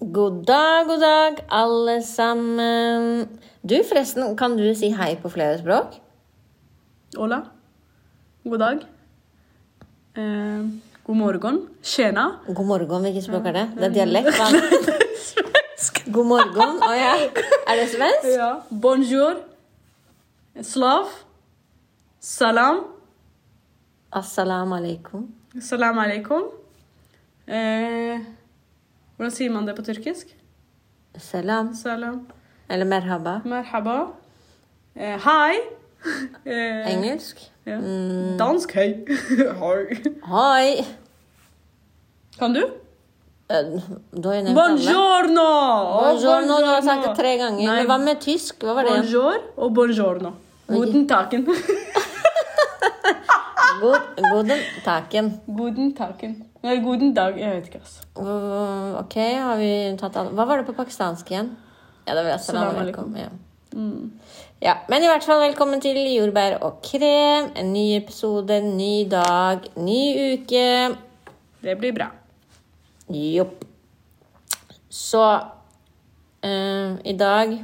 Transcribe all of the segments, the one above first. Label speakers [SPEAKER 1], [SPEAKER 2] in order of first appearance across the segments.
[SPEAKER 1] dag, god dag, alle sammen. Du, forresten, kan du si hei på flere språk?
[SPEAKER 2] Hola. God dag. Eh, god morgen. Tjena.
[SPEAKER 1] God morgen, hvilket språk er det? Det er dialekt, hva? God morgen, å ja. Er det svensk?
[SPEAKER 2] Ja. Bonjour. Slav. Salam.
[SPEAKER 1] Assalamu alaikum.
[SPEAKER 2] Salam aleikum. Eh, hvordan sier man det på tyrkisk?
[SPEAKER 1] Selam.
[SPEAKER 2] Salam.
[SPEAKER 1] Eller merhaba.
[SPEAKER 2] Merhaba. Eh, hi. Eh,
[SPEAKER 1] Engelsk.
[SPEAKER 2] Ja. Dansk. Hei. Hei.
[SPEAKER 1] Hoi.
[SPEAKER 2] Kan du?
[SPEAKER 1] Eh, Du har jo nevnt alle.
[SPEAKER 2] Buongiorno!
[SPEAKER 1] Buongiorno, du har sagt det tre ganger.
[SPEAKER 2] Nei.
[SPEAKER 1] Men hva med tysk? Hva var det? igjen?
[SPEAKER 2] Bonjour og buongiorno. Guten taken.
[SPEAKER 1] God, goden taken.
[SPEAKER 2] Guten taken. Nei, guten dag. Jeg vet ikke, altså.
[SPEAKER 1] Uh, Ok, har vi tatt alle Hva var det på pakistansk igjen? Ja, det var Assalamu
[SPEAKER 2] Salam
[SPEAKER 1] alaikum. Ja. ja, men i hvert fall velkommen til Jordbær og krem. En ny episode, en ny dag, ny uke.
[SPEAKER 2] Det blir bra.
[SPEAKER 1] Jopp. Så eh, i dag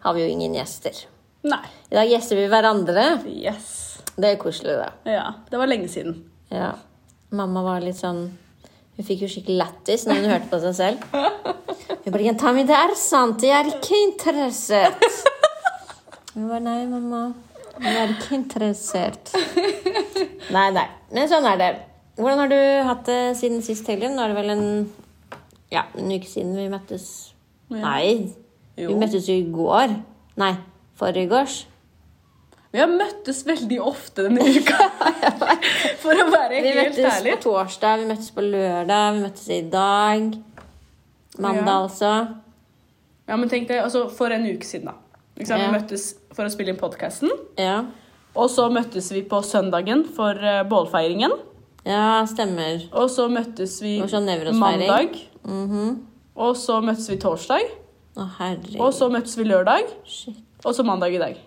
[SPEAKER 1] har vi jo ingen gjester.
[SPEAKER 2] Nei.
[SPEAKER 1] I dag gjester vi hverandre.
[SPEAKER 2] Yes.
[SPEAKER 1] Det er koselig, da.
[SPEAKER 2] Ja, det var lenge siden.
[SPEAKER 1] Ja. Mamma var litt sånn Hun fikk jo skikkelig lættis når hun hørte på seg selv. Hun bare 'Jenta mi, det er sant. Jeg er ikke interessert.' Hun bare 'Nei, mamma. Jeg er ikke interessert'. Nei, nei. Men sånn er det. Hvordan har du hatt det siden sist, Helen? Nå er det vel en Ja, en uke siden vi møttes.
[SPEAKER 2] Ja.
[SPEAKER 1] Nei. Vi
[SPEAKER 2] Jo.
[SPEAKER 1] møttes jo i går. Nei, forgårs.
[SPEAKER 2] Vi har møttes veldig ofte denne uka. For å være
[SPEAKER 1] Vi
[SPEAKER 2] helt
[SPEAKER 1] møttes
[SPEAKER 2] ærlig.
[SPEAKER 1] på torsdag, vi møttes på lørdag, vi møttes i dag. Mandag,
[SPEAKER 2] Ja.
[SPEAKER 1] altså.
[SPEAKER 2] Ja, men tenk deg, altså, For en uke siden, da. Ikke sant?
[SPEAKER 1] Ja.
[SPEAKER 2] Vi møttes for å spille inn podkasten.
[SPEAKER 1] Ja.
[SPEAKER 2] Og så møttes vi på søndagen for eh, bålfeiringen.
[SPEAKER 1] ja, stemmer.
[SPEAKER 2] Og så møttes vi
[SPEAKER 1] Og så nevrosfeiring.
[SPEAKER 2] mandag.
[SPEAKER 1] Mhm.
[SPEAKER 2] Og så møttes vi torsdag.
[SPEAKER 1] Å, herregud.
[SPEAKER 2] Og så møttes vi lørdag.
[SPEAKER 1] Shit.
[SPEAKER 2] Og så mandag i dag.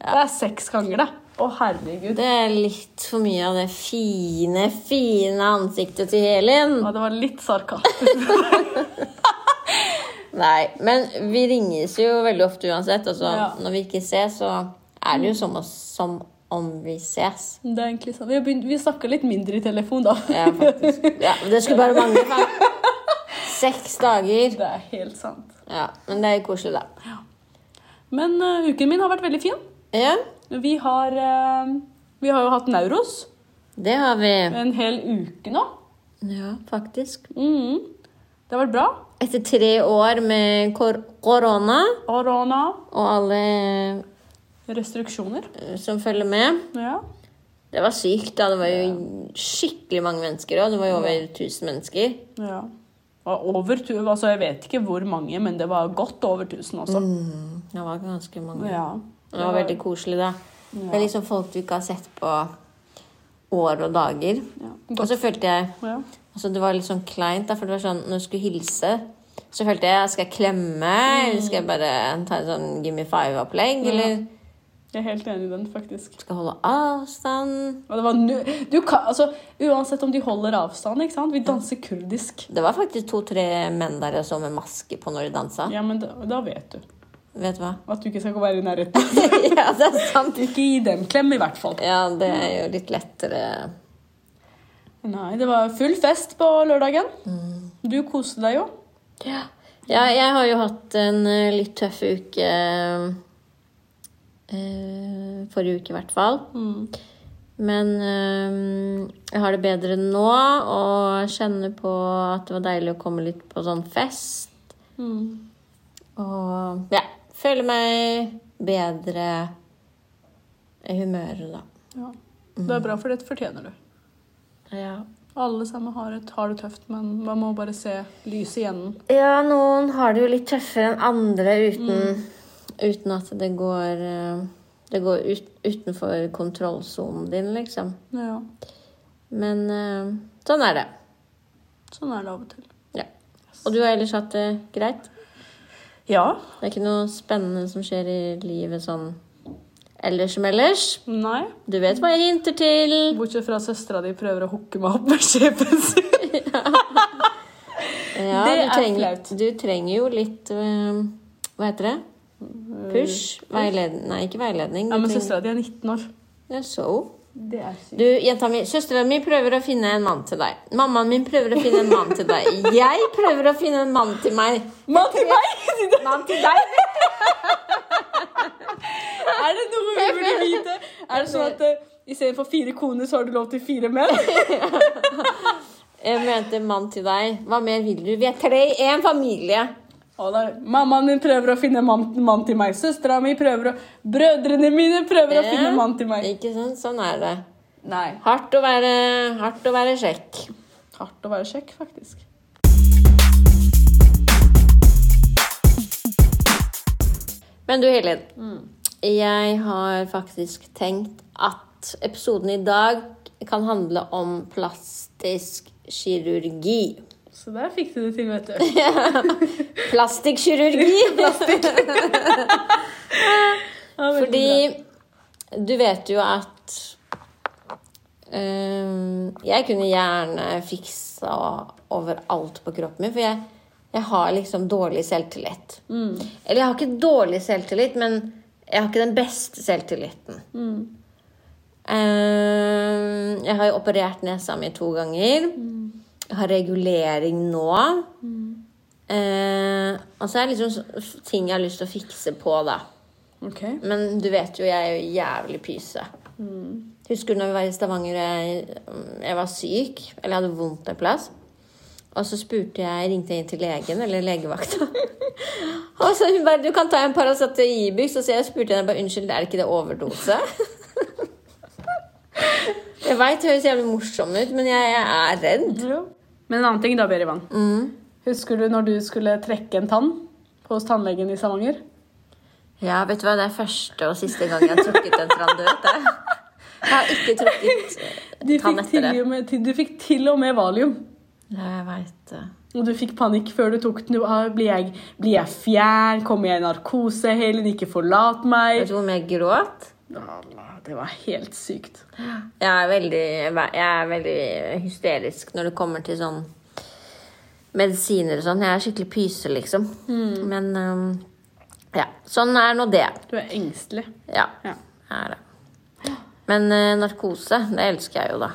[SPEAKER 2] Det er seks ganger, det. Å, herregud.
[SPEAKER 1] Det er litt for mye av det fine, fine ansiktet til Helin.
[SPEAKER 2] Ja, det var litt sarkastisk.
[SPEAKER 1] Nei, men vi ringes jo veldig ofte uansett. Altså,
[SPEAKER 2] Ja.
[SPEAKER 1] Når vi ikke ses, så er det jo som, oss, som om vi ses.
[SPEAKER 2] Det er egentlig sånn. Vi, har begynt- vi snakka litt mindre i telefon, da.
[SPEAKER 1] Ja, faktisk. Ja, men det skulle bare mangle. faen. Seks dager.
[SPEAKER 2] Det er helt sant.
[SPEAKER 1] Ja, men det er jo koselig, da.
[SPEAKER 2] Men eh, uken min har vært veldig fin.
[SPEAKER 1] Ja,
[SPEAKER 2] Vi har, eh, vi har jo hatt Nauros
[SPEAKER 1] det har vi.
[SPEAKER 2] en hel uke nå.
[SPEAKER 1] Ja, faktisk.
[SPEAKER 2] Mhm. Det har vært bra.
[SPEAKER 1] Etter tre år med kor korona
[SPEAKER 2] Arona.
[SPEAKER 1] og alle
[SPEAKER 2] Restriksjoner.
[SPEAKER 1] eh, som følger med
[SPEAKER 2] Ja.
[SPEAKER 1] Det var sykt, da. Det var jo skikkelig mange mennesker òg. Det var jo over 1000 mennesker.
[SPEAKER 2] Ja. Og over tu altså jeg vet ikke hvor mange, men det var godt over 1000 også.
[SPEAKER 1] Mm, det var ganske mange.
[SPEAKER 2] Ja.
[SPEAKER 1] Det var veldig koselig, da. Det er liksom folk du ikke har sett på år og dager.
[SPEAKER 2] Ja.
[SPEAKER 1] Og så følte jeg
[SPEAKER 2] ja.
[SPEAKER 1] Altså, det var litt sånn kleint, da, for det var sånn, når du skulle hilse, så følte jeg skal jeg klemme, eller skal jeg bare ta en sånn give me five-opplegg, eller
[SPEAKER 2] Jeg er helt enig i den, faktisk.
[SPEAKER 1] skal jeg holde avstand?
[SPEAKER 2] Og det var nu du kan, altså, uansett om de holder avstand, ikke sant? Vi danser kurdisk.
[SPEAKER 1] Det var faktisk to-tre menn der jeg så med maske på når de dansa.
[SPEAKER 2] Ja, men da, da vet du
[SPEAKER 1] Vet du hva?
[SPEAKER 2] at du ikke skal gå være i nærheten.
[SPEAKER 1] ja, det er sant.
[SPEAKER 2] Ikke gi dem klem, i hvert fall.
[SPEAKER 1] Ja, det er jo litt lettere.
[SPEAKER 2] Nei, det var full fest på lørdagen. Du koste deg jo.
[SPEAKER 1] Mm. Ja. ja, jeg har jo hatt en eh, litt tøff uke. eh, forrige uke, i hvert fall.
[SPEAKER 2] Mm.
[SPEAKER 1] Men øhm, jeg har det bedre nå, og jeg kjenner på at det var deilig å komme litt på sånn fest.
[SPEAKER 2] Mm.
[SPEAKER 1] Og ja, føler meg bedre i humøret, da.
[SPEAKER 2] Ja. Det er bra, for det fortjener du.
[SPEAKER 1] Ja.
[SPEAKER 2] Alle sammen har, et, har det tøft, men man må bare se lyset i enden.
[SPEAKER 1] noen har det jo litt tøffere enn andre uten, Mm. uten at det går øh, Det går ut, utenfor kontrollsonen din, liksom.
[SPEAKER 2] Ja.
[SPEAKER 1] Men øh, sånn er det.
[SPEAKER 2] Sånn er det av og til.
[SPEAKER 1] Ja. Og du har ellers hatt det greit?
[SPEAKER 2] Ja.
[SPEAKER 1] Det er ikke noe spennende som skjer i livet sånn ellers som ellers.
[SPEAKER 2] Nei.
[SPEAKER 1] Du vet hva jeg hinter til.
[SPEAKER 2] Bortsett fra at søstera di prøver å hooke meg opp med sjefen sin.
[SPEAKER 1] Ja,
[SPEAKER 2] Det
[SPEAKER 1] du
[SPEAKER 2] er
[SPEAKER 1] trenger,
[SPEAKER 2] flaut.
[SPEAKER 1] Du trenger jo litt eh, Hva heter det? Push? Veiledning Nei, ikke veiledning.
[SPEAKER 2] Eh, Ja,
[SPEAKER 1] du
[SPEAKER 2] men
[SPEAKER 1] trenger-
[SPEAKER 2] søstera di er 19 år.
[SPEAKER 1] Ja, så.
[SPEAKER 2] Det er sykt.
[SPEAKER 1] Du, jenta mi, søstera mi prøver å finne en mann til deg. Mammaen min prøver å finne en mann til deg. Jeg prøver å finne en mann til meg.
[SPEAKER 2] Mann til meg!
[SPEAKER 1] Mann til deg?
[SPEAKER 2] Er det noe vi burde vite? Er det sånn at eh, istedenfor fire koner, så har du lov til fire menn?
[SPEAKER 1] Jeg mente mann til deg. Hva mer vil du? Vi er tre i én familie.
[SPEAKER 2] Og da, mammaen min prøver å finne mann, mann til meg. Søstera mi prøver å Brødrene mine prøver å
[SPEAKER 1] Ja.
[SPEAKER 2] finne mann til meg.
[SPEAKER 1] Ikke sant? Sånn er det.
[SPEAKER 2] Nei.
[SPEAKER 1] Hardt å være, hardt å være sjekk.
[SPEAKER 2] Hardt å være kjekk, faktisk.
[SPEAKER 1] Men du, Helin. Jeg har faktisk tenkt at episoden i dag kan handle om plastisk kirurgi.
[SPEAKER 2] Så der fikk du det til, vet du.
[SPEAKER 1] Plastikkirurgi!
[SPEAKER 2] Ja, veldig bra.
[SPEAKER 1] Fordi du vet jo at øhm, Jeg kunne gjerne fiksa overalt på kroppen min, for jeg, jeg har liksom dårlig selvtillit.
[SPEAKER 2] Mm.
[SPEAKER 1] Eller jeg har ikke dårlig selvtillit, men jeg har ikke den beste selvtilliten.
[SPEAKER 2] Mm.
[SPEAKER 1] Øhm, jeg har jo operert nesa mi to ganger.
[SPEAKER 2] Mm.
[SPEAKER 1] Jeg har regulering nå. Eh, og så er det liksom så- ting jeg har lyst til å fikse på, da.
[SPEAKER 2] Ok.
[SPEAKER 1] Men du vet jo, jeg er jo jævlig pyse. Mm. Husker du når vi var i Stavanger og jeg, mm, jeg var syk? Eller jeg hadde vondt en plass? Og så spurte jeg, ringte jeg inn til legen, eller legevakta. og så hun bare 'Du kan ta en Paracet og Ibux.' Og så jeg spurte henne bare 'Unnskyld, er ikke det overdose?' jeg veit det høres jævlig morsom ut, men jeg, jeg er redd.
[SPEAKER 2] Jo. Men en annen ting da, Berivan.
[SPEAKER 1] Mm.
[SPEAKER 2] Husker du når du skulle trekke en tann på hos tannlegen i Stavanger?
[SPEAKER 1] Ja, vet du hva, det er første og siste gang jeg har trukket en trandøt. jeg. Jeg har ikke trukket
[SPEAKER 2] Du
[SPEAKER 1] tann
[SPEAKER 2] fikk,
[SPEAKER 1] etter
[SPEAKER 2] til
[SPEAKER 1] det.
[SPEAKER 2] og med, til, du fikk til og med valium.
[SPEAKER 1] Ja, jeg veit det.
[SPEAKER 2] Og du fikk panikk før du tok den. Du, ah, blir, jeg, blir jeg fjern? Kommer jeg i narkose? Helen, ikke forlat
[SPEAKER 1] Vet
[SPEAKER 2] meg.
[SPEAKER 1] du hvor mye jeg gråt?
[SPEAKER 2] Allah, det var helt sykt.
[SPEAKER 1] Jeg er veldig, jeg er veldig hysterisk når det kommer til sånn medisiner og sånn. Jeg er skikkelig pyse, liksom.
[SPEAKER 2] Mm.
[SPEAKER 1] Men øhm, ja, sånn er nå det.
[SPEAKER 2] Du er engstelig.
[SPEAKER 1] Ja,
[SPEAKER 2] Ja.
[SPEAKER 1] er det. Men øh, narkose, det elsker jeg jo, da.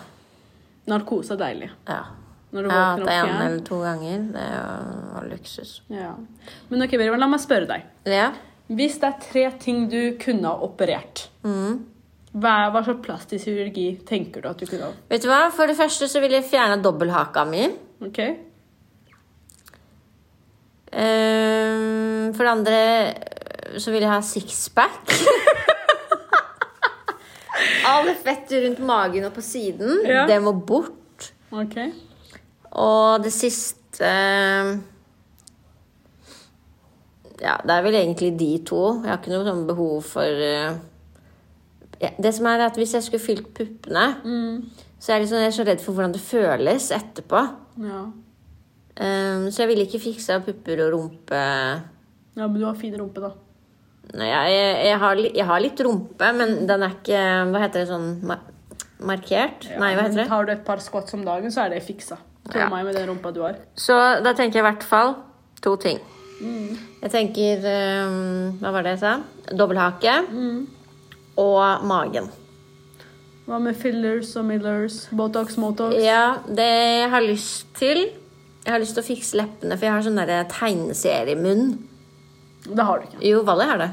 [SPEAKER 2] Narkose er deilig.
[SPEAKER 1] Ja.
[SPEAKER 2] Når du
[SPEAKER 1] Jeg har hatt
[SPEAKER 2] våkner
[SPEAKER 1] det
[SPEAKER 2] opp
[SPEAKER 1] en
[SPEAKER 2] fjern.
[SPEAKER 1] eller to ganger. Det var- var luksus.
[SPEAKER 2] Ja. Men ok, Berivan, la meg spørre deg.
[SPEAKER 1] Ja.
[SPEAKER 2] Hvis det er tre ting du kunne ha operert,
[SPEAKER 1] Mm.
[SPEAKER 2] hva, hva slags plastisk kirurgi tenker du at du kunne ha?
[SPEAKER 1] Vet du hva? For det første så ville jeg fjerne dobbelthaka mi.
[SPEAKER 2] Ok?
[SPEAKER 1] Ehm, for det andre øh, så vil jeg ha sixpack. All det fettet rundt magen og på siden,
[SPEAKER 2] Ja.
[SPEAKER 1] det må bort.
[SPEAKER 2] Ok.
[SPEAKER 1] Og det siste øh, Ja, det er vel egentlig de to. Jeg har ikke noe sånn behov for øh, ja, Det som er at Hvis jeg skulle fylt puppene,
[SPEAKER 2] Mm.
[SPEAKER 1] så er jeg, liksom, jeg er så redd for hvordan det føles etterpå.
[SPEAKER 2] Ja.
[SPEAKER 1] Ehm, så jeg ville ikke fiksa pupper og rumpe.
[SPEAKER 2] ja, men du har fin rumpe, da.
[SPEAKER 1] Nei, jeg, jeg, jeg, har, li- jeg har litt rumpe, men den er ikke Hva heter det sånn ma Markert? Nei, hva
[SPEAKER 2] men
[SPEAKER 1] heter det?
[SPEAKER 2] Tar du et par squats om dagen, så er det fiksa. Tro
[SPEAKER 1] Ja.
[SPEAKER 2] meg med den rumpa du har.
[SPEAKER 1] Så da tenker jeg i hvert fall to ting.
[SPEAKER 2] Mm.
[SPEAKER 1] Jeg tenker ehm, Hva var det jeg sa? Dobbelthake
[SPEAKER 2] Mm.
[SPEAKER 1] og magen.
[SPEAKER 2] Hva med fillers og millers? Botox, motox?
[SPEAKER 1] Ja, det jeg har lyst til Jeg har lyst til å fikse leppene, for jeg har sånn derre tegneseriemunn.
[SPEAKER 2] Det har du ikke.
[SPEAKER 1] Jo, Vally har det.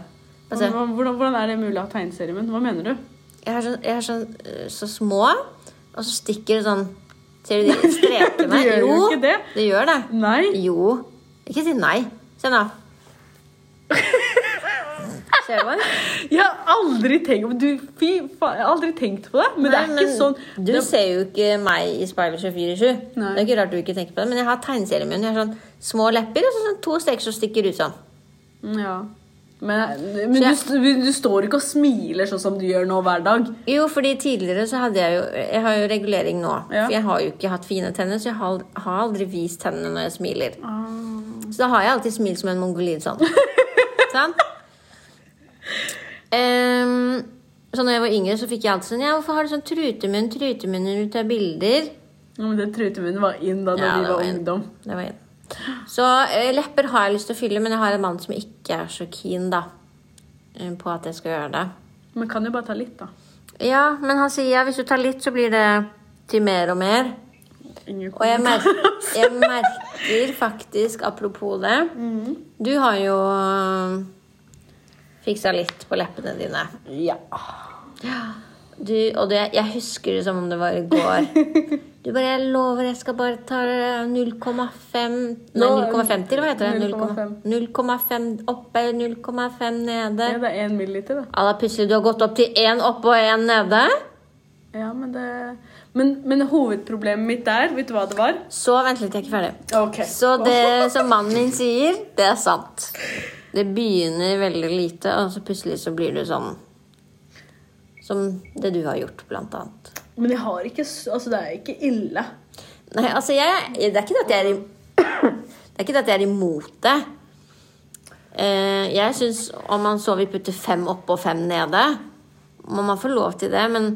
[SPEAKER 1] Få se.
[SPEAKER 2] Hvordan, hvordan- hvordan er det mulig å ha tegneserie, men hva mener du?
[SPEAKER 1] Jeg har sånn, jeg har sånn øh, så små, og så stikker det sånn Ser du de strekene?
[SPEAKER 2] Det gjør jo ikke det.
[SPEAKER 1] det gjør det.
[SPEAKER 2] Nei.
[SPEAKER 1] Jo. Ikke si nei. Se nå. Ser du hva?
[SPEAKER 2] Jeg har aldri tenkt, du, fy, faen, jeg har aldri tenkt på det, men det er
[SPEAKER 1] Nei,
[SPEAKER 2] ikke sånn
[SPEAKER 1] Du
[SPEAKER 2] det,
[SPEAKER 1] ser jo ikke meg i speilet 24-7. Det
[SPEAKER 2] Nei.
[SPEAKER 1] er ikke rart du ikke tenker på det, men jeg har tegneseriemunn. Jeg har sånn små lepper og så sånn to streker som stikker ut sånn.
[SPEAKER 2] Ja. Men,
[SPEAKER 1] Så
[SPEAKER 2] men du,
[SPEAKER 1] jeg-
[SPEAKER 2] st- men du står ikke og smiler sånn som du gjør nå hver dag.
[SPEAKER 1] Jo, fordi tidligere så hadde jeg jo Jeg har jo regulering nå.
[SPEAKER 2] Ja.
[SPEAKER 1] For jeg har jo ikke hatt fine tenner, så jeg har ald- har aldri vist tennene når jeg smiler. Ah. Så da har jeg alltid smilt som en mongolid sånn. sånn? Ehm, så når jeg var yngre, så fikk jeg alltid sånn Ja, hvorfor har du sånn trutemunn, trutemunn når du tar bilder?
[SPEAKER 2] Ja, men det trutemunnen var inn da, da
[SPEAKER 1] Ja,
[SPEAKER 2] vi
[SPEAKER 1] det
[SPEAKER 2] var
[SPEAKER 1] var inn.
[SPEAKER 2] ungdom.
[SPEAKER 1] Det var en. Så eh, lepper har jeg lyst til å fylle, men jeg har en mann som ikke er så keen da, eh, på at jeg skal gjøre det.
[SPEAKER 2] Men kan jo bare ta litt, da.
[SPEAKER 1] Ja, men han sier ja, hvis du tar litt, så blir det til mer og mer.
[SPEAKER 2] Ingen
[SPEAKER 1] Og jeg, mer jeg merker faktisk, apropos det Du har jo øh, fiksa litt på leppene dine.
[SPEAKER 2] Ja.
[SPEAKER 1] Du, og det, jeg husker det som om det var i går. Du bare Jeg lover, jeg skal bare ta øh, 0,5 Nei,
[SPEAKER 2] Nå-
[SPEAKER 1] 0,50, eller hva heter det?
[SPEAKER 2] 0,5.
[SPEAKER 1] 0,5 oppe, 0,5 nede.
[SPEAKER 2] Ja, det er én milliliter, da.
[SPEAKER 1] Alla, plutselig, du har gått opp til én oppe og én nede.
[SPEAKER 2] Ja, men det men, men hovedproblemet mitt der, vet du hva det var?
[SPEAKER 1] Så vent litt, jeg er ikke ferdig.
[SPEAKER 2] Ok.
[SPEAKER 1] Så det som mannen min sier, det er sant. Det begynner veldig lite, og så plutselig så blir du sånn Som det du har gjort, blant annet.
[SPEAKER 2] Men jeg har ikke s- Altså, det er ikke ille.
[SPEAKER 1] Nei, altså jeg Det er ikke det at jeg er, i, det er, ikke det at jeg er imot det. Eh, jeg syns om man så vil putte fem oppe og fem nede, må man få lov til det, men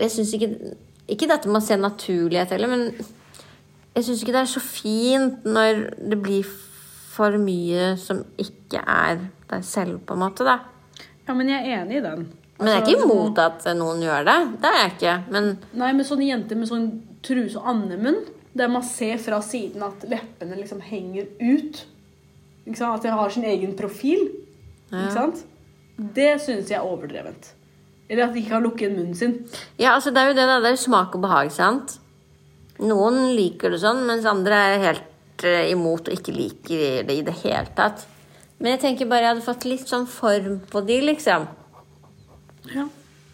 [SPEAKER 1] jeg syns ikke Ikke dette med å se naturlighet heller, men jeg syns ikke det er så fint når det blir for mye som ikke er deg selv, på en måte, da.
[SPEAKER 2] Ja, men jeg er enig i den. Altså,
[SPEAKER 1] Men jeg er ikke imot at noen gjør det. Det er jeg ikke. Men
[SPEAKER 2] Nei, men sånne jenter med sånn truse og andemunn, der man ser fra siden at leppene liksom henger ut. Ikke sant? At de har sin egen profil. Ikke sant? Det syns jeg er overdrevent. Eller at de ikke har lukket munnen sin.
[SPEAKER 1] Ja, altså det er jo det, da. Det er jo smak og behag, sant? Noen liker det sånn, mens andre er helt eh, imot og ikke liker det i det hele tatt. Men jeg tenker bare jeg hadde fått litt sånn form på de, liksom.
[SPEAKER 2] Ja.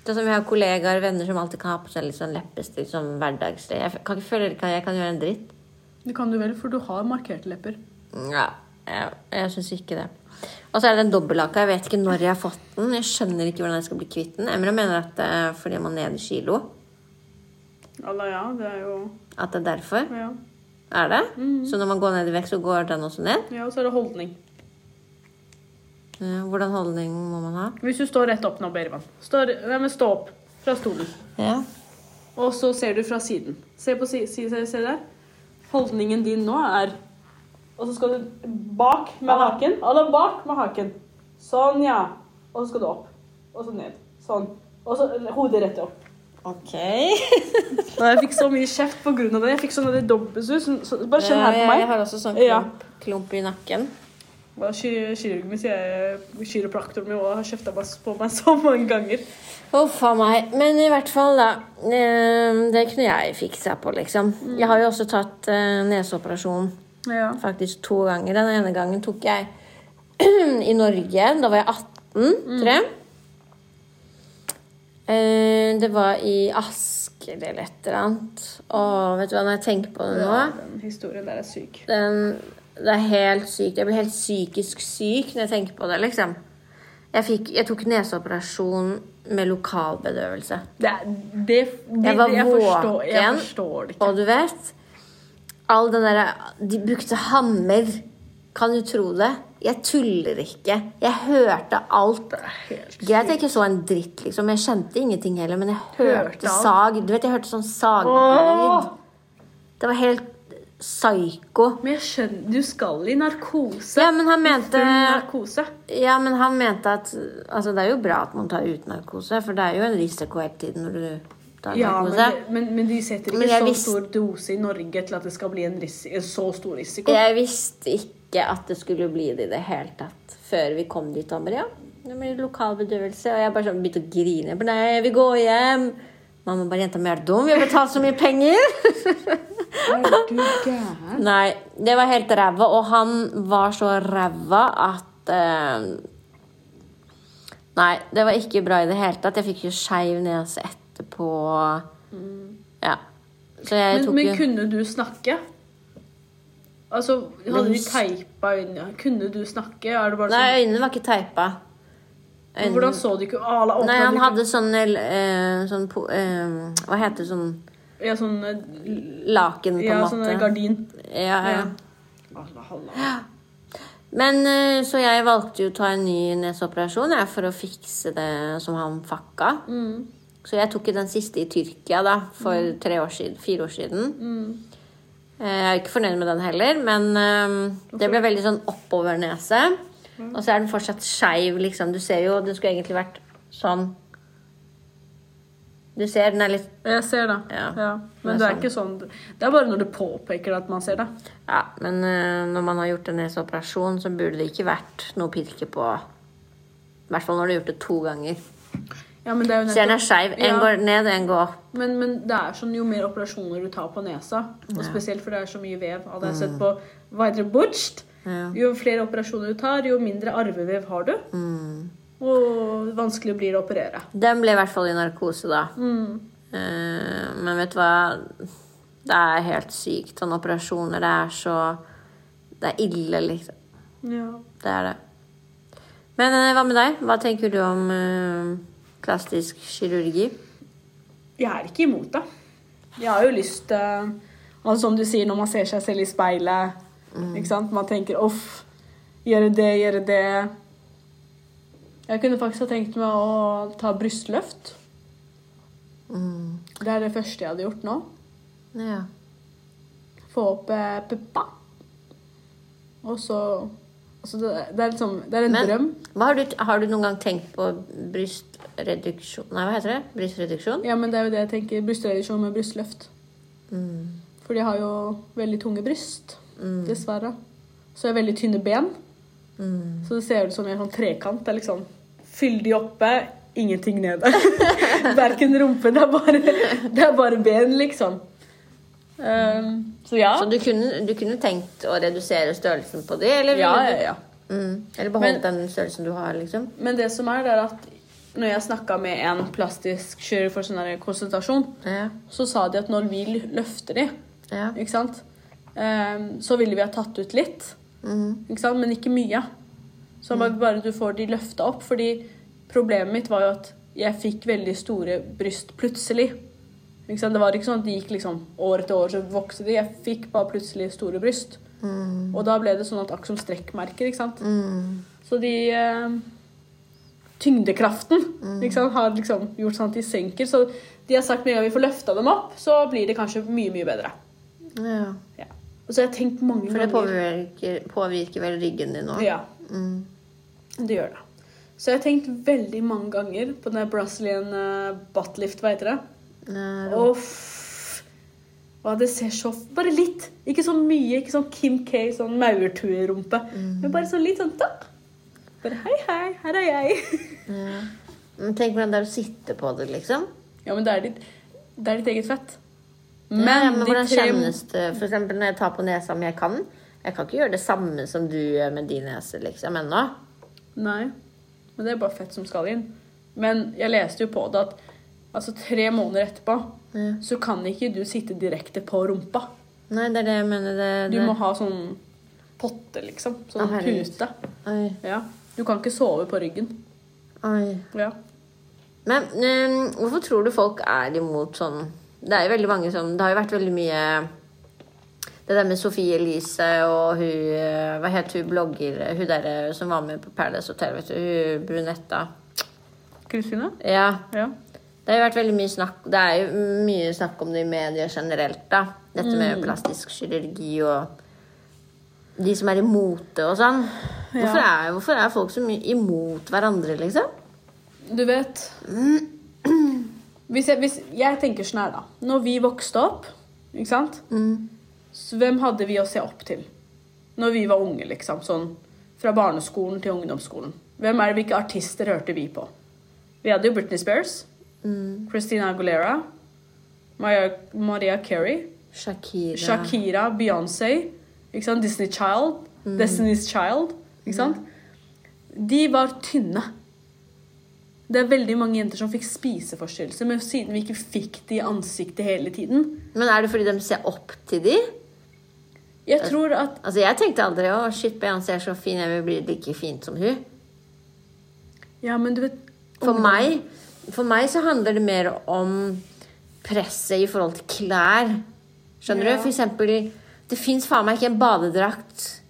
[SPEAKER 1] Sånn som jeg har kollegaer og venner som alltid kan ha på seg litt sånn leppestift, sånn hverdagslig. Jeg kan ikke føle at jeg kan gjøre en dritt.
[SPEAKER 2] Det kan du vel, for du har markerte lepper.
[SPEAKER 1] Ja, jeg, jeg syns ikke det. Og så er det den dobbeltlaka. Jeg vet ikke når jeg har fått den. Jeg skjønner ikke hvordan jeg skal bli kvitt den. Emra mener at det er fordi man er nede i kilo.
[SPEAKER 2] Alla ja, det er jo
[SPEAKER 1] At det er derfor.
[SPEAKER 2] Ja,
[SPEAKER 1] Er det? Så når man går ned i vekt, så går den også ned?
[SPEAKER 2] ja og så er det holdning.
[SPEAKER 1] Eh, Hvordan holdning må man ha?
[SPEAKER 2] Hvis du står rett opp nå, Berivan. Står, nei, men stå opp fra stolen.
[SPEAKER 1] Ja.
[SPEAKER 2] Og så ser du fra siden. Se på si, si, se, se der. Holdningen din nå er Og så skal du bak med haken. Eller bak med haken. Sånn, ja. Og så skal du opp. Og så ned. Sånn. Og så eller, hodet rett opp.
[SPEAKER 1] Ok.
[SPEAKER 2] Nei, jeg fikk så mye kjeft på grunn av det. Jeg fikk sånn dobbeltsus. Bare kjenn her på
[SPEAKER 1] Jeg, jeg
[SPEAKER 2] meg.
[SPEAKER 1] har også sånn
[SPEAKER 2] Ja.
[SPEAKER 1] klump, klump i nakken.
[SPEAKER 2] Hva ky- Kirurgen min sier kiropraktoren min også har kjefta meg s- på meg så mange ganger.
[SPEAKER 1] Huff a meg. Men i hvert fall, da. eh, Det kunne jeg fiksa på, liksom. Jeg har jo også tatt eh, neseoperasjon
[SPEAKER 2] Ja.
[SPEAKER 1] faktisk to ganger. Den ene gangen tok jeg i Norge. Da var jeg 18, tror jeg. Eh, Det var i Asker eller et eller annet. Å, vet du hva, når jeg tenker på det nå
[SPEAKER 2] Den historien der er syk.
[SPEAKER 1] den, Det er helt sykt. Jeg blir helt psykisk syk når jeg tenker på det, liksom. Jeg, fikk, jeg tok neseoperasjon med lokalbedøvelse.
[SPEAKER 2] Det, er- det, det,
[SPEAKER 1] Jeg var
[SPEAKER 2] jeg forstår, jeg
[SPEAKER 1] våken.
[SPEAKER 2] forstår det ikke.
[SPEAKER 1] Og du vet All den derre De brukte hammer. Kan du tro det? Jeg tuller ikke. Jeg hørte alt.
[SPEAKER 2] Det er helt
[SPEAKER 1] Greit at jeg ikke så en dritt, liksom. Jeg kjente ingenting heller, men jeg hørte,
[SPEAKER 2] Hørte alt.
[SPEAKER 1] sag. Du vet, jeg hørte sånn saglyd.
[SPEAKER 2] Åh!
[SPEAKER 1] Det var helt psyko.
[SPEAKER 2] Men jeg skjønner Du skal i narkose.
[SPEAKER 1] Ja, men han
[SPEAKER 2] Full
[SPEAKER 1] mente
[SPEAKER 2] narkose.
[SPEAKER 1] Ja, men han mente at Altså, det er jo bra at man tar ut narkose, for det er jo en risiko hele tiden når du tar
[SPEAKER 2] Ja, men,
[SPEAKER 1] narkose.
[SPEAKER 2] det- men, men de setter
[SPEAKER 1] Men
[SPEAKER 2] ikke
[SPEAKER 1] jeg
[SPEAKER 2] så
[SPEAKER 1] visste-
[SPEAKER 2] stor dose i Norge til at det skal bli en, ris en så stor risiko.
[SPEAKER 1] Jeg visste ikke at det skulle bli det i det hele tatt før vi kom dit. Amber, ja. Det blir lokal bedøvelse. Og jeg bare sånn begynte å grine. Jeg bare, Nei, jeg vil gå hjem. Mamma bare jenta mi er du dum. Vi har betalt så mye penger.
[SPEAKER 2] Er du gæren?
[SPEAKER 1] Nei, det var helt ræva. Og han var så ræva at eh, Nei, det var ikke bra i det hele tatt. Jeg fikk jo skeiv nese etterpå. Ja. Så jeg
[SPEAKER 2] Mm. Men,
[SPEAKER 1] tok
[SPEAKER 2] men
[SPEAKER 1] jo
[SPEAKER 2] kunne du snakke? Altså, hadde
[SPEAKER 1] Men-
[SPEAKER 2] de teipa øynene? Kunne du snakke? Er det bare
[SPEAKER 1] Nei,
[SPEAKER 2] sånn,
[SPEAKER 1] øynene var ikke teipa. øynene-
[SPEAKER 2] Hvordan så du ikke ah, la- åpna
[SPEAKER 1] Nei, han
[SPEAKER 2] du ikke-
[SPEAKER 1] hadde sånn, eh, sånn po- eh, Hva heter det? Sånn
[SPEAKER 2] Ja, sånn, eh,
[SPEAKER 1] laken, på en
[SPEAKER 2] ja,
[SPEAKER 1] måte.
[SPEAKER 2] sånn eh, gardin.
[SPEAKER 1] Ja, ja.
[SPEAKER 2] Halla, halla.
[SPEAKER 1] Men eh, Så jeg valgte jo å ta en ny neseoperasjon jeg, for å fikse det som han fucka.
[SPEAKER 2] Mm. Mm.
[SPEAKER 1] Så jeg tok jo den siste i Tyrkia da, for tre år siden, fire år siden. Eh, Jeg er ikke fornøyd med den heller, men eh, det ble veldig sånn oppover nese.
[SPEAKER 2] Mm.
[SPEAKER 1] Og så er den fortsatt skeiv, liksom. Du ser jo, det skulle egentlig vært sånn Du ser, den er litt
[SPEAKER 2] Jeg ser det.
[SPEAKER 1] Ja. Det er
[SPEAKER 2] Men det er ikke sånn Det er bare når du påpeker at man ser det.
[SPEAKER 1] Ja, men eh, når man har gjort en neseoperasjon, så burde det ikke vært noe pirke på I hvert fall når du har gjort det to ganger.
[SPEAKER 2] Ja, men det er jo
[SPEAKER 1] Ser den er skeiv. En
[SPEAKER 2] Ja.
[SPEAKER 1] går ned, en går opp.
[SPEAKER 2] Men, men det er sånn, jo mer operasjoner du tar på nesa, og spesielt for det er så mye vev Hadde jeg sett på Videre Butcht,
[SPEAKER 1] Ja. Mm.
[SPEAKER 2] jo flere operasjoner du tar, jo mindre arvevev har du. Og vanskelig blir det å operere.
[SPEAKER 1] Den ble i hvert fall i narkose, da. Eh, men vet du hva? Det er helt sykt. Sånne operasjoner, det er så Det er ille, liksom.
[SPEAKER 2] Ja.
[SPEAKER 1] Det er det. Men eh, hva med deg? Hva tenker du om eh, plastisk kirurgi?
[SPEAKER 2] Jeg er ikke imot det. Jeg har jo lyst eh, altså Som du sier, når man ser seg selv i speilet, ikke sant? man tenker 'off', gjøre det, gjøre det. Jeg kunne faktisk ha tenkt meg å ta brystløft. Det er det første jeg hadde gjort nå.
[SPEAKER 1] Ja.
[SPEAKER 2] Få opp eh, puppa. Og så altså det, det er liksom Det er en
[SPEAKER 1] Men
[SPEAKER 2] drøm.
[SPEAKER 1] Hva har, du, har du noen gang tenkt på brystreduksjon Nei, hva heter det? Brystreduksjon?
[SPEAKER 2] Ja, men det er jo det jeg tenker. Brystreduksjon med brystløft.
[SPEAKER 1] Mm,
[SPEAKER 2] For de har jo veldig tunge bryst, dessverre. Så jeg har veldig tynne ben.
[SPEAKER 1] mm.
[SPEAKER 2] Så det ser ut som en sånn trekant. Det er liksom fyldig oppe, ingenting nede. Verken rumpe, det er bare, det er bare ben, liksom. Um, så ja.
[SPEAKER 1] Så du kunne, du kunne tenkt å redusere størrelsen på de, eller, ville
[SPEAKER 2] ja,
[SPEAKER 1] du-
[SPEAKER 2] ja, ja.
[SPEAKER 1] Mm. eller beholdt den størrelsen du har, liksom?
[SPEAKER 2] Men det som er, det er at når jeg snakka med en plastisk kirurg for sånn her konsultasjon,
[SPEAKER 1] Ja.
[SPEAKER 2] så sa de at når vi løfter de,
[SPEAKER 1] ja.
[SPEAKER 2] Ikke sant? Ehm, så ville vi ha tatt ut litt,
[SPEAKER 1] Mm,
[SPEAKER 2] ikke sant? men ikke mye. Så han bare, bare du får de løfta opp. Fordi problemet mitt var jo at jeg fikk veldig store bryst plutselig. Ikke sant? Det var ikke sånn at de gikk liksom år etter år, så vokste de. Jeg fikk bare plutselig store bryst.
[SPEAKER 1] mm,
[SPEAKER 2] Og da ble det sånn at akkurat som strekkmerker, ikke sant. Så de ehm, Tyngdekraften
[SPEAKER 1] Mm.
[SPEAKER 2] ikke sant, har liksom gjort sånn at de senker. Så de har sagt med en gang vi får løfta dem opp, så blir det kanskje mye, mye bedre.
[SPEAKER 1] ja.
[SPEAKER 2] Ja. Og så har jeg tenkt mange
[SPEAKER 1] For det påvirker, påvirker vel ryggen din Mm. òg?
[SPEAKER 2] Ja, det gjør det. Så jeg har tenkt veldig mange ganger på den der Brazilian eh, buttlift, hva heter det? Uff. Hva det ser så Bare litt. Ikke så mye, ikke sånn Kim K, sånn maurtuerumpe.
[SPEAKER 1] Mm.
[SPEAKER 2] Men bare sånn litt sånn takk. Bare hei, hei, her er jeg.
[SPEAKER 1] Men tenk hvordan det er å sitte på det, liksom.
[SPEAKER 2] ja, men det er ditt, det er ditt eget fett.
[SPEAKER 1] Men, ja, men
[SPEAKER 2] de
[SPEAKER 1] hvordan
[SPEAKER 2] tre-
[SPEAKER 1] kjennes det For eksempel når jeg tar på nesa om jeg kan? Jeg kan ikke gjøre det samme som du gjør med din nese, liksom, ennå.
[SPEAKER 2] Nei, men det er bare fett som skal inn. Men jeg leste jo på det at altså tre måneder etterpå så kan ikke du sitte direkte på rumpa.
[SPEAKER 1] Nei, det er det jeg mener. Det,
[SPEAKER 2] Du
[SPEAKER 1] det.
[SPEAKER 2] må ha sånn potte, liksom.
[SPEAKER 1] eh, Å,
[SPEAKER 2] Sånn
[SPEAKER 1] herregud.
[SPEAKER 2] pute.
[SPEAKER 1] Oi.
[SPEAKER 2] Ja. Du kan ikke sove på ryggen.
[SPEAKER 1] Oi.
[SPEAKER 2] Ja.
[SPEAKER 1] Men eh, hvorfor tror du folk er imot sånn Det er jo veldig mange som Det har jo vært veldig mye Det der med Sofie Elise og hun eh, Hva het hun blogger Hun derre som var med på Paradise Hotel, vet du. Hun brunetta.
[SPEAKER 2] Kristine?
[SPEAKER 1] Ja.
[SPEAKER 2] Ja.
[SPEAKER 1] Det har jo vært veldig mye snakk Det er jo mye snakk om det i medier generelt, da. Dette med plastisk kirurgi og de som er imot det og sånn. Hvorfor er, hvorfor er folk så mye imot hverandre, liksom?
[SPEAKER 2] Du vet hvis jeg, hvis jeg tenker sånn her, da. Når vi vokste opp, ikke sant
[SPEAKER 1] Mm.
[SPEAKER 2] så Hvem hadde vi å se opp til når vi var unge, liksom? Sånn fra barneskolen til ungdomsskolen. Hvem er det Hvilke artister hørte vi på? Vi hadde jo Britney Spears,
[SPEAKER 1] Mm.
[SPEAKER 2] Christina Aguilera, Maria, Maria Carey,
[SPEAKER 1] Shakira.
[SPEAKER 2] Shakira, Beyoncé, ikke sant? Disney Child,
[SPEAKER 1] Mm.
[SPEAKER 2] Destiny's Child. Ikke sant? De var tynne. Det er veldig mange jenter som fikk spiseforstyrrelser, men siden vi ikke fikk det i ansiktet hele tiden
[SPEAKER 1] Men er det fordi de ser opp til de?
[SPEAKER 2] Jeg tror at
[SPEAKER 1] Altså, jeg tenkte aldri å shit, Beyoncé er så fin, jeg vil bli like fin som hun.
[SPEAKER 2] Ja, men du vet
[SPEAKER 1] For meg, for meg så handler det mer om presset i forhold til klær. Skjønner
[SPEAKER 2] Ja.
[SPEAKER 1] du? For eksempel, det fins faen meg ikke en badedrakt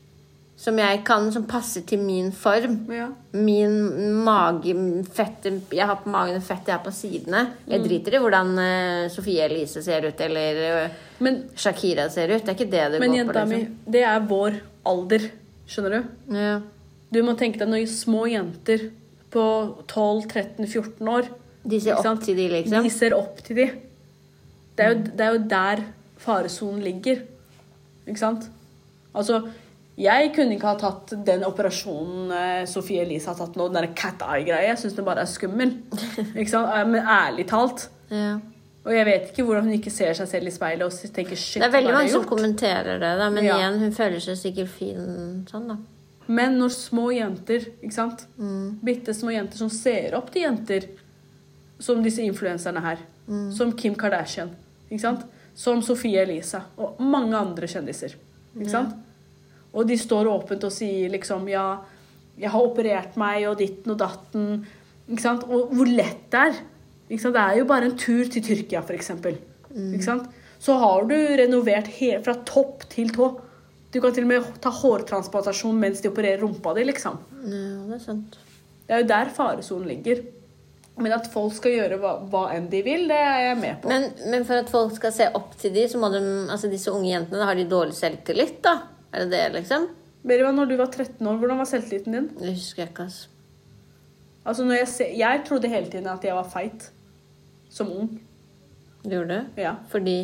[SPEAKER 1] som jeg kan, som passer til min form.
[SPEAKER 3] Ja.
[SPEAKER 1] Min mage fett, Jeg har på magen fett jeg har på sidene. Jeg
[SPEAKER 2] Mm.
[SPEAKER 1] driter i hvordan eh, Sofie Elise ser ut, eller eh,
[SPEAKER 2] Men,
[SPEAKER 1] Shakira ser ut. Det er ikke det det
[SPEAKER 2] men
[SPEAKER 1] går
[SPEAKER 2] jenta
[SPEAKER 1] på.
[SPEAKER 2] mi,
[SPEAKER 1] Liksom.
[SPEAKER 2] det er vår alder. Skjønner du?
[SPEAKER 1] Ja.
[SPEAKER 2] Du må tenke deg når små jenter på 12-13-14 år
[SPEAKER 1] De ser
[SPEAKER 2] ikke
[SPEAKER 1] opp
[SPEAKER 2] sant?
[SPEAKER 1] til de, liksom.
[SPEAKER 2] De ser opp til de. Det er jo, det er jo der faresonen ligger. Ikke sant? Altså, jeg kunne ikke ha tatt den operasjonen eh, Sophie Elise har tatt nå, den der cat eye-greia. Jeg syns den bare er skummel. Ikke sant? Eh, Men ærlig talt.
[SPEAKER 1] Ja.
[SPEAKER 2] Og jeg vet ikke hvordan hun ikke ser seg selv i speilet og tenker shit.
[SPEAKER 1] Det er veldig
[SPEAKER 2] hva har
[SPEAKER 1] mange
[SPEAKER 2] jeg
[SPEAKER 1] som
[SPEAKER 2] gjort?
[SPEAKER 1] kommenterer det, da, men
[SPEAKER 2] Ja.
[SPEAKER 1] igjen, hun føler seg sikkert fin sånn, da.
[SPEAKER 2] Men når små jenter, ikke sant? Bitte små jenter som ser opp til jenter, som disse influenserne her, som Kim Kardashian, ikke sant? Som Sofie Elise og mange andre kjendiser, ikke sant? Og de står åpent og sier liksom, ja, jeg har operert meg og ditten og datten, ikke sant? Og hvor lett det er, ikke sant? Det er jo bare en tur til Tyrkia, for eksempel, ikke sant? Så har du renovert he- fra topp til tå. Du kan til og med ta hårtransplantasjon mens de opererer rumpa di, liksom.
[SPEAKER 1] Ja, det er sant.
[SPEAKER 2] Det er jo der faresonen ligger. Men at folk skal gjøre hva, hva enn de vil, det er jeg med på.
[SPEAKER 1] Men, men for at folk skal se opp til de, så må de Altså disse unge jentene, da har de dårlig selvtillit, da? Er det det, liksom?
[SPEAKER 2] Berivan, når du var 13 år, hvordan var selvtilliten din?
[SPEAKER 1] Det husker jeg ikke, altså.
[SPEAKER 2] Altså, når jeg, ser, jeg trodde hele tiden at jeg var feit. Som ung.
[SPEAKER 1] Du gjorde det?
[SPEAKER 2] Ja.
[SPEAKER 1] Fordi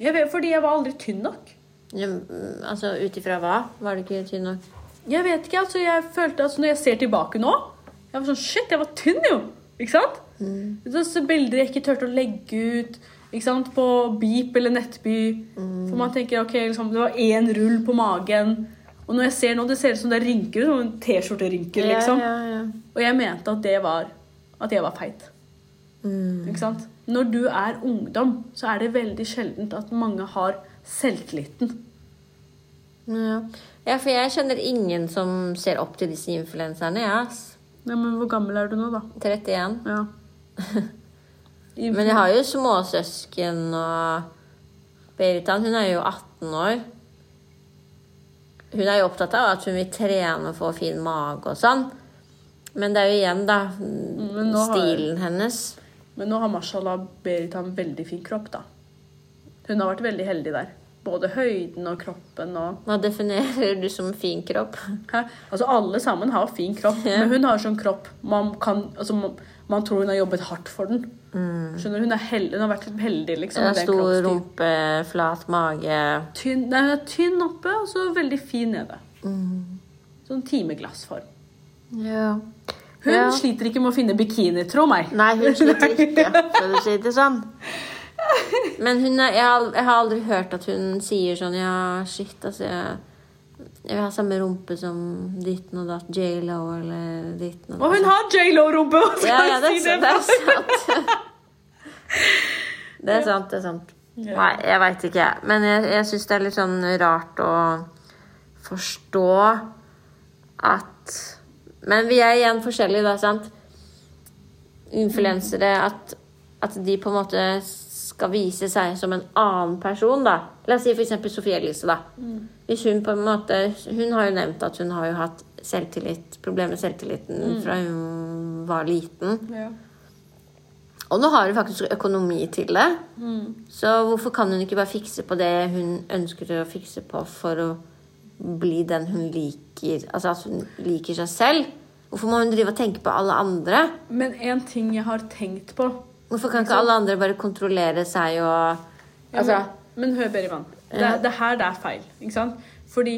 [SPEAKER 2] Jeg vet, fordi jeg var aldri tynn nok.
[SPEAKER 1] ja, mm, Altså ut ifra hva? Var det ikke tynn nok?
[SPEAKER 2] Jeg vet ikke, altså, jeg følte altså, Når jeg ser tilbake nå Jeg var sånn, shit, jeg var tynn jo Ikke sant?
[SPEAKER 1] Mm.
[SPEAKER 2] Så, så bilder jeg ikke tørte å legge ut Ikke sant? På Beep eller Nettby For
[SPEAKER 1] Mm.
[SPEAKER 2] man tenker, ok, liksom, det var en rull på magen Og når jeg ser nå, det ser ut som det er rynker Som en t-skjorte-rynker, liksom
[SPEAKER 1] Ja, ja, ja.
[SPEAKER 2] og jeg mente at det var at jeg var feit.
[SPEAKER 1] Mm.
[SPEAKER 2] Ikke sant? Når du er ungdom, så er det veldig sjeldent at mange har selvtilliten.
[SPEAKER 1] Ja. ja, for jeg kjenner ingen som ser opp til disse influenserne, jeg, ass.
[SPEAKER 2] Ja, men hvor gammel er du nå, da?
[SPEAKER 1] 31.
[SPEAKER 2] Ja.
[SPEAKER 1] Men jeg har jo småsøsken og Beritan, hun er jo 18 år. Hun er jo opptatt av at hun vil trene og få fin mage og sånn. Men det er jo igjen, da,
[SPEAKER 2] men nå har-
[SPEAKER 1] stilen hennes.
[SPEAKER 2] Men nå har mashallah Berit har en veldig fin kropp, da. Hun har vært veldig heldig der. Både høyden og kroppen og
[SPEAKER 1] Hva definerer du som fin kropp?
[SPEAKER 2] Hæ? Altså, alle sammen har fin kropp, men hun har sånn kropp man kan Altså, man, man tror hun har jobbet hardt for den. Skjønner du? Hun, er heldig, hun har vært heldig, liksom.
[SPEAKER 1] Hun har
[SPEAKER 2] med den
[SPEAKER 1] Mm. stor
[SPEAKER 2] kroppsstilen.
[SPEAKER 1] rumpe, flat mage
[SPEAKER 2] tynn, nei, hun er tynn oppe og så veldig fin nede.
[SPEAKER 1] Mm.
[SPEAKER 2] Sånn timeglassform.
[SPEAKER 1] Ja.
[SPEAKER 2] Hun sliter ikke med å finne bikini, tro meg.
[SPEAKER 1] Nei, hun sliter ikke, for å si det sånn. Men hun er, jeg, har, al- jeg har aldri hørt at hun sier sånn Ja, shit, altså jeg, jeg vil ha samme rumpe som ditten og datt. J.Lo eller ditten og
[SPEAKER 2] Og hun har J.Lo-rumpe! hva skal
[SPEAKER 1] Ja, ja,
[SPEAKER 2] jeg
[SPEAKER 1] det,
[SPEAKER 2] si
[SPEAKER 1] er- det
[SPEAKER 2] det?
[SPEAKER 1] er sant. Det er sant, det er sant. Nei, jeg veit ikke, jeg. Men jeg, jeg syns det er litt sånn rart å forstå at Men vi er igjen forskjellige, da, sant? Influensere. At, at de på en måte skal vise seg som en annen person, da. La oss si f.eks. Sofie Elise, da. Hvis hun på en måte Hun har jo nevnt at hun har jo hatt selvtillit, problemer med selvtilliten fra hun var liten.
[SPEAKER 2] Ja.
[SPEAKER 1] Og nå har hun faktisk økonomi til det. Så hvorfor kan hun ikke bare fikse på det hun ønsker å fikse på for å bli den hun liker? Altså at hun liker seg selv? Hvorfor må hun drive og tenke på alle andre?
[SPEAKER 2] Men en ting jeg har tenkt på
[SPEAKER 1] Hvorfor kan ikke alle andre bare kontrollere seg og
[SPEAKER 2] Ja,
[SPEAKER 1] Altså
[SPEAKER 2] men, men hør, Berivan. Det, er- det her det er feil. Ikke sant? Fordi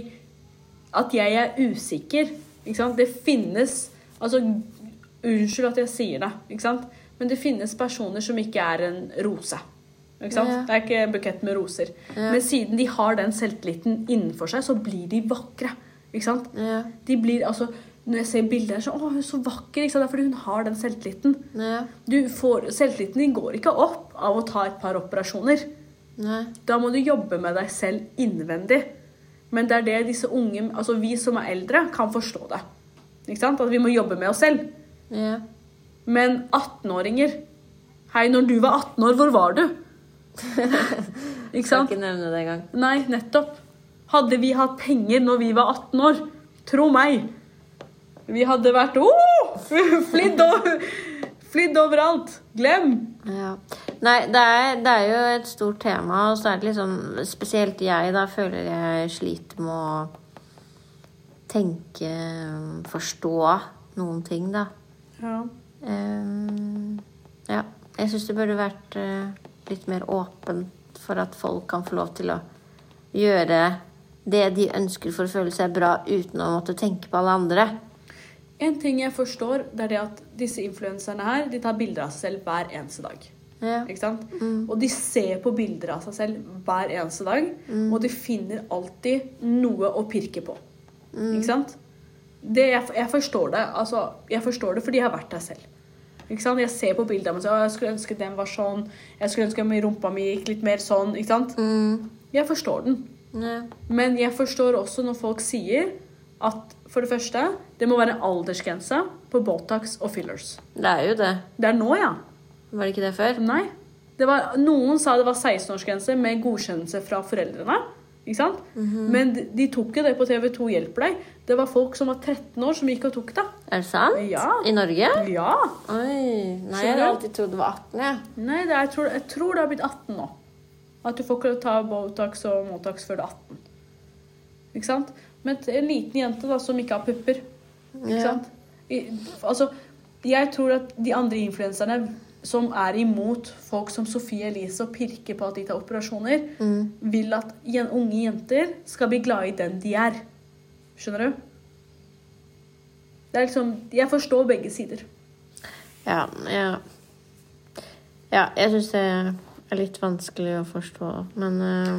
[SPEAKER 2] at jeg er usikker ikke sant? Det finnes Altså, unnskyld at jeg sier det, ikke sant? men det finnes personer som ikke er en rose. Ikke sant?
[SPEAKER 1] Ja.
[SPEAKER 2] Det er ikke en bukett med roser. Men siden de har den selvtilliten innenfor seg, så blir de vakre. Ikke sant?
[SPEAKER 1] Ja.
[SPEAKER 2] De blir, altså, når jeg ser bilder, så Å, hun er så vakker! Ikke sant? Det er fordi hun har den selvtilliten.
[SPEAKER 1] Nei.
[SPEAKER 2] Du får, selvtilliten din går ikke opp av å ta et par operasjoner.
[SPEAKER 1] Nei.
[SPEAKER 2] Da må du jobbe med deg selv innvendig. Men det er det disse unge, altså vi som er eldre, kan forstå det. Ikke sant? At vi må jobbe med oss selv.
[SPEAKER 1] Ja.
[SPEAKER 2] Men 18-åringer Hei, når du var 18 år, hvor var du?
[SPEAKER 1] Skal
[SPEAKER 2] ikke sant?
[SPEAKER 1] ikke nevne det engang.
[SPEAKER 2] Nei, nettopp. Hadde vi hatt penger når vi var 18 år, Tro meg. Vi hadde vært oh! flidd, over, flidd overalt. Glem.
[SPEAKER 1] Ja. Nei, det er, det er jo et stort tema, og så er det liksom Spesielt jeg, da, føler jeg sliter med å tenke Forstå noen ting, da.
[SPEAKER 2] Ja.
[SPEAKER 1] Ehm, ja. Jeg syns det burde vært eh, litt mer åpent for at folk kan få lov til å gjøre det de ønsker for å føle seg bra uten å måtte tenke på alle andre.
[SPEAKER 2] En ting jeg forstår, det er det at disse influenserne her de tar bilder av seg selv hver eneste dag.
[SPEAKER 1] Ja.
[SPEAKER 2] Ikke sant? Og de ser på bilder av seg selv hver eneste dag, og de finner alltid noe å pirke på. Ikke sant? Det, jeg, jeg forstår det. Altså, jeg forstår det fordi jeg har vært der selv. Ikke sant? Jeg ser på bildet av meg selv. «Å, Jeg skulle ønske den var sånn. Jeg skulle ønske min rumpa mi gikk litt mer sånn. Ikke
[SPEAKER 1] Mm.
[SPEAKER 2] sant? Jeg forstår den.
[SPEAKER 1] Ja.
[SPEAKER 2] Men jeg forstår også når folk sier at for det første, det må være aldersgrense på Botox og fillers.
[SPEAKER 1] Det er jo det.
[SPEAKER 2] Det er nå, ja.
[SPEAKER 1] Var det ikke det før?
[SPEAKER 2] Nei. Det var, noen sa det var 16-årsgrense med godkjennelse fra foreldrene. Ikke sant? Men de, de tok jo det på TV2 Hjelper deg. Det var folk som var 13 år, som gikk og tok det.
[SPEAKER 1] Er det sant?
[SPEAKER 2] Ja.
[SPEAKER 1] I Norge?
[SPEAKER 2] Ja.
[SPEAKER 1] Oi. Nei, jeg
[SPEAKER 2] Skjønner du?
[SPEAKER 1] hadde alltid trodd det var 18, jeg.
[SPEAKER 2] Nei, det er, jeg, tror, jeg tror det har blitt 18 nå. At du får ikke ta Botox og Motox før du er 18. Ikke sant? Men t- en liten jente da, som ikke har pupper. Ikke
[SPEAKER 1] Ja.
[SPEAKER 2] sant? I, altså, jeg tror at de andre influenserne som er imot folk som Sofie Elise og pirker på at de tar operasjoner,
[SPEAKER 1] Mm.
[SPEAKER 2] vil at jen, unge jenter skal bli glade i den de er. Skjønner du? Det er liksom, jeg forstår begge sider.
[SPEAKER 1] Ja, ja. ja jeg syns det er litt vanskelig å forstå, men eh,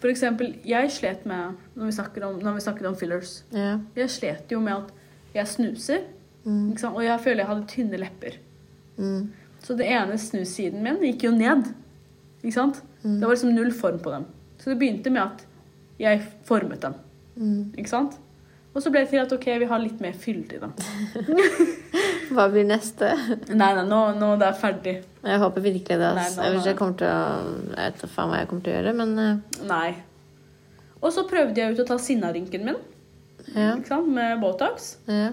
[SPEAKER 2] For eksempel, jeg slet med, når vi snakker om, når vi snakker om fillers
[SPEAKER 1] eh, ja.
[SPEAKER 2] Jeg slet jo med at jeg snuser, ikke sant? og jeg føler jeg hadde tynne lepper.
[SPEAKER 1] Mm.
[SPEAKER 2] Så det ene snussiden min gikk jo ned. Ikke sant?
[SPEAKER 1] mm.
[SPEAKER 2] Det var liksom null form på dem. Så det begynte med at jeg formet dem.
[SPEAKER 1] Mm.
[SPEAKER 2] Ikke sant? Og så ble det til at ok, vi har litt mer fylde i dem.
[SPEAKER 1] Hva blir neste?
[SPEAKER 2] Nei, nei, nå, nå det er ferdig.
[SPEAKER 1] Jeg håper virkelig det. ass.
[SPEAKER 2] Nei, nå-
[SPEAKER 1] jeg vet ikke jeg kommer til å Jeg vet da faen hva jeg kommer til å gjøre, men eh,
[SPEAKER 2] Nei. Og så prøvde jeg ut å ta sinnarynken min
[SPEAKER 1] ja.
[SPEAKER 2] ikke sant? med Botox.
[SPEAKER 1] ja.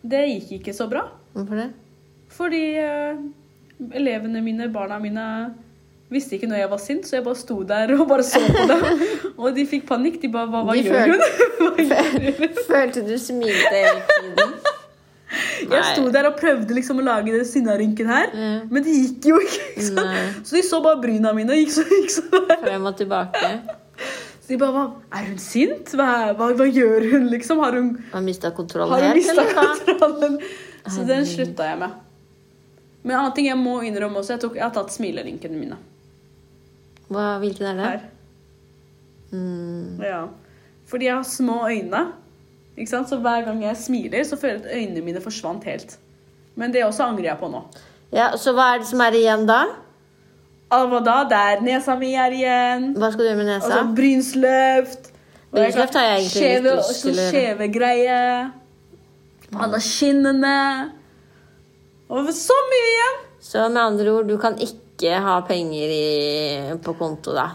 [SPEAKER 2] Det gikk ikke så bra.
[SPEAKER 1] Hvorfor det?
[SPEAKER 2] Fordi eh, elevene mine, barna mine, visste ikke når jeg var sint, så jeg bare sto der og bare så på dem. og de fikk panikk. De bare Hva, hva
[SPEAKER 1] De
[SPEAKER 2] gjør hun? Hva gjør hun?
[SPEAKER 1] Følte du smilte hele tiden?
[SPEAKER 2] Jeg sto der og prøvde liksom å lage den sinnarynken her,
[SPEAKER 1] Ja.
[SPEAKER 2] men det gikk jo ikke. ikke sant?
[SPEAKER 1] Nei.
[SPEAKER 2] Så de så bare bryna mine og gikk så, gikk så der.
[SPEAKER 1] Frem og tilbake.
[SPEAKER 2] Så de bare hva, Er hun sint? Hva, hva, hva gjør hun, liksom? Har hun,
[SPEAKER 1] Har mista kontrollen
[SPEAKER 2] har hun
[SPEAKER 1] helt,
[SPEAKER 2] mista
[SPEAKER 1] eller hva?
[SPEAKER 2] kontrollen? Så den slutta jeg med. Men en annen ting jeg må innrømme også, jeg, tok, jeg har tatt smilerynkene mine.
[SPEAKER 1] hva? Hvilken er det?
[SPEAKER 2] Her.
[SPEAKER 1] Mm.
[SPEAKER 2] Ja. Fordi jeg har små øyne. Ikke sant? Så hver gang jeg smiler, så føler jeg at øynene mine forsvant helt. Men det også angrer jeg på nå.
[SPEAKER 1] Ja, Så hva er det som er igjen da?
[SPEAKER 2] Ah, Hva da? Der nesa mi er igjen.
[SPEAKER 1] Hva skal du gjøre med
[SPEAKER 2] Og
[SPEAKER 1] nesa?
[SPEAKER 2] så Altså, brynsløft. Og jeg
[SPEAKER 1] Brynsløft har jeg egentlig litt
[SPEAKER 2] skjeve-
[SPEAKER 1] lyst til å gjøre.
[SPEAKER 2] Sånn skjeve greie. Alle skinnene. Og så mye igjen!
[SPEAKER 1] Så med andre ord, du kan ikke ha penger i, på konto, da.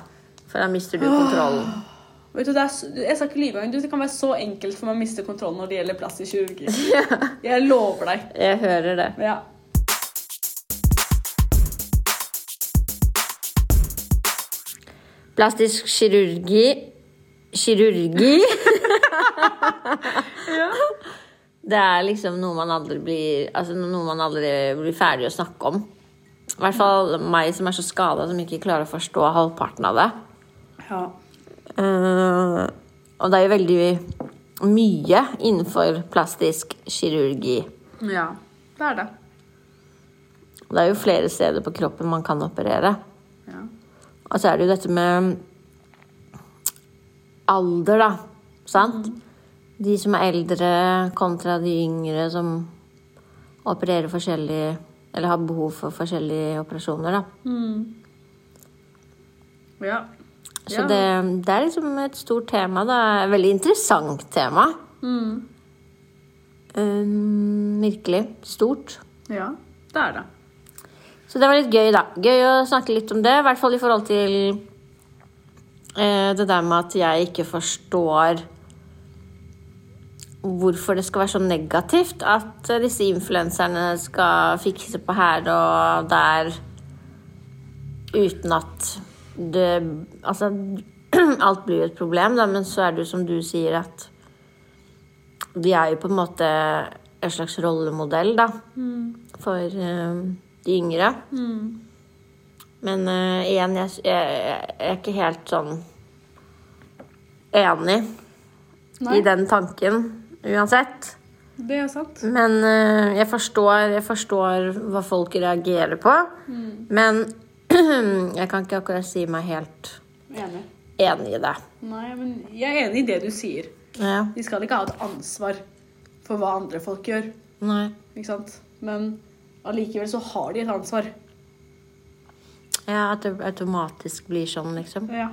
[SPEAKER 1] For da mister du kontrollen.
[SPEAKER 2] Vet du, det er, s- jeg skal ikke lyve engang. Du, Det kan være så enkelt for meg å miste kontrollen når det gjelder plastisk kirurgi. Jeg lover deg.
[SPEAKER 1] Jeg hører det.
[SPEAKER 2] Ja.
[SPEAKER 1] Plastisk kirurgi Kirurgi Det er liksom noe man aldri blir Altså noe man aldri blir ferdig å snakke om. I hvert fall meg som er så skada som ikke klarer å forstå halvparten av det.
[SPEAKER 2] ja.
[SPEAKER 1] Eh, og det er jo veldig mye innenfor plastisk kirurgi.
[SPEAKER 2] Ja. Det er det.
[SPEAKER 1] Og det er jo flere steder på kroppen man kan operere.
[SPEAKER 2] Ja.
[SPEAKER 1] Og så er det jo dette med alder, da. Sant? De som er eldre kontra de yngre som opererer forskjellig Eller har behov for forskjellige operasjoner, da.
[SPEAKER 2] Mm. Ja.
[SPEAKER 1] Så
[SPEAKER 2] Ja.
[SPEAKER 1] det, det er liksom et stort tema. da. Et Veldig interessant tema.
[SPEAKER 2] Mm.
[SPEAKER 1] Um, virkelig. Stort.
[SPEAKER 2] ja, det er det.
[SPEAKER 1] Så det var litt gøy, da. Gøy å snakke litt om det. I hvert fall i forhold til eh, det der med at jeg ikke forstår hvorfor det skal være så negativt at eh, disse influenserne skal fikse på her og der uten at det Altså, alt blir jo et problem, da, men så er det jo som du sier, at de er jo på en måte en slags rollemodell, da, for eh, de yngre. Mm. Men eh, igjen, jeg, jeg, jeg er ikke helt sånn enig i den tanken uansett.
[SPEAKER 2] Det er sant.
[SPEAKER 1] Men eh, jeg, forstår, jeg forstår hva folk reagerer på. Men jeg kan ikke akkurat si meg helt
[SPEAKER 2] Enig.
[SPEAKER 1] enig i det.
[SPEAKER 2] Nei, men jeg er enig i det du sier.
[SPEAKER 1] Ja.
[SPEAKER 2] De skal ikke ha et ansvar for hva andre folk gjør,
[SPEAKER 1] Nei.
[SPEAKER 2] ikke sant? Men allikevel så har de et ansvar.
[SPEAKER 1] Ja, at det automatisk blir sånn, liksom.
[SPEAKER 2] Ja.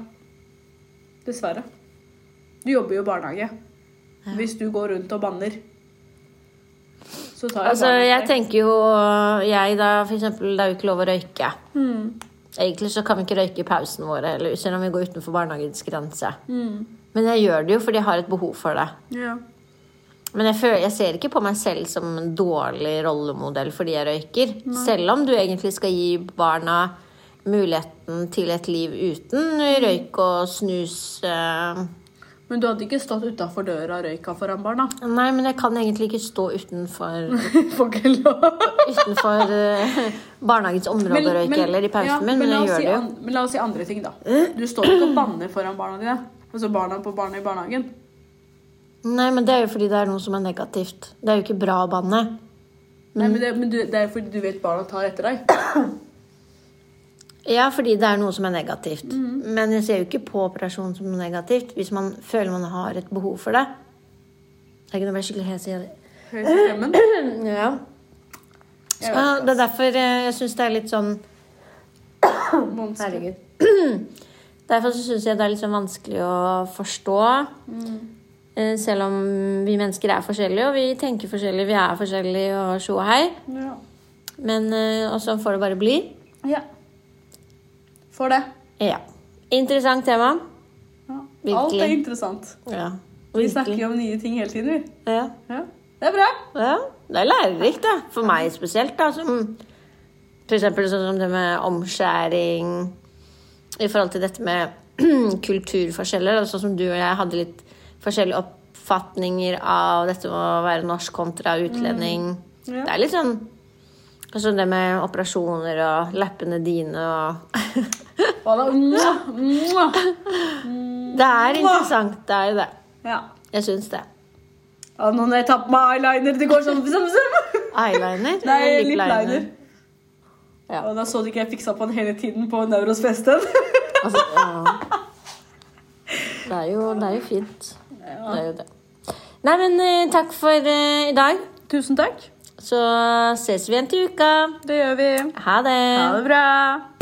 [SPEAKER 2] Dessverre. Du jobber jo i barnehage. Hvis du går rundt og banner, så tar jeg
[SPEAKER 1] Altså,
[SPEAKER 2] barnehagen
[SPEAKER 1] jeg
[SPEAKER 2] deg.
[SPEAKER 1] tenker jo eh, Jeg da, for eksempel, det er jo ikke lov å røyke.
[SPEAKER 2] Mm,
[SPEAKER 1] Egentlig så kan vi ikke røyke i pausene våre, eller selv om vi går utenfor barnehagens grense. Men jeg gjør det jo fordi jeg har et behov for det.
[SPEAKER 2] mm. Ja.
[SPEAKER 1] Men jeg, føler, jeg ser ikke på meg selv som en dårlig rollemodell fordi jeg røyker. Selv om du egentlig skal gi barna muligheten til et liv uten røyk og snus. eh.
[SPEAKER 2] Men du hadde ikke stått utafor døra og røyka foran barna.
[SPEAKER 1] Nei, men jeg kan egentlig ikke stå utenfor,
[SPEAKER 2] Får ikke lov.
[SPEAKER 1] utenfor eh, barnehagens område og røyke heller i pausen
[SPEAKER 2] ja,
[SPEAKER 1] min, men
[SPEAKER 2] la
[SPEAKER 1] jeg
[SPEAKER 2] oss
[SPEAKER 1] gjør
[SPEAKER 2] si
[SPEAKER 1] det jo.
[SPEAKER 2] an- Men la oss si andre ting, da. Du står ikke og banner foran barna dine. Altså barna på barna i barnehagen.
[SPEAKER 1] Nei, men det er jo fordi det er noe som er negativt. Det er jo ikke bra å banne.
[SPEAKER 2] Nei,
[SPEAKER 1] Mm.
[SPEAKER 2] men det, men du, det er fordi du vet barna tar etter deg.
[SPEAKER 1] Ja, fordi det er noe som er negativt.
[SPEAKER 2] Mm.
[SPEAKER 1] Men jeg ser jo ikke på operasjon som noe negativt hvis man føler man har et behov for det. Jeg kunne bli skikkelig hes i hodet.
[SPEAKER 2] Høres i stemmen.
[SPEAKER 1] Ja. Så det er derfor eh, jeg syns det er litt sånn
[SPEAKER 2] Monster.
[SPEAKER 1] Herregud. Derfor syns jeg det er litt sånn vanskelig å forstå.
[SPEAKER 2] Mm.
[SPEAKER 1] Eh, Selv om vi mennesker er forskjellige, og vi tenker forskjellig, vi er forskjellige og tjo og hei.
[SPEAKER 2] Ja.
[SPEAKER 1] Men eh, Og sånn får det bare bli.
[SPEAKER 2] ja. For det.
[SPEAKER 1] Ja. Interessant tema.
[SPEAKER 2] Ja.
[SPEAKER 1] Virkelig.
[SPEAKER 2] Alt er interessant.
[SPEAKER 1] Ja.
[SPEAKER 2] Vi snakker jo om nye ting hele tiden, vi.
[SPEAKER 1] Ja.
[SPEAKER 2] Ja. Det er bra.
[SPEAKER 1] Ja, det er lærerikt, da. For meg spesielt, da. Som for eksempel sånn som det med omskjæring i forhold til dette med kulturforskjeller. da, Sånn som du og jeg hadde litt forskjellige oppfatninger av dette med å være norsk kontra utlending.
[SPEAKER 2] Ja.
[SPEAKER 1] Det er litt sånn Sånn som det med operasjoner og leppene dine og
[SPEAKER 2] Hva da? Mwah, mwah.
[SPEAKER 1] Det er interessant, det er jo det.
[SPEAKER 2] Ja.
[SPEAKER 1] Jeg syns det.
[SPEAKER 2] Ja, nå når jeg tar på meg eyeliner, det går sånn som, som.
[SPEAKER 1] Eyeliner?
[SPEAKER 2] Nei,
[SPEAKER 1] eller
[SPEAKER 2] lip liner.
[SPEAKER 1] Ja.
[SPEAKER 2] Og da så du ikke jeg fiksa på den hele tiden på Neurosfesten.
[SPEAKER 1] Altså, ja. det, er jo, det er jo fint. Det er jo det. Nei, men eh, takk for eh, i dag.
[SPEAKER 2] Tusen takk.
[SPEAKER 1] Så ses vi igjen til uka.
[SPEAKER 2] Det gjør vi.
[SPEAKER 1] Ha det.
[SPEAKER 2] Ha det bra.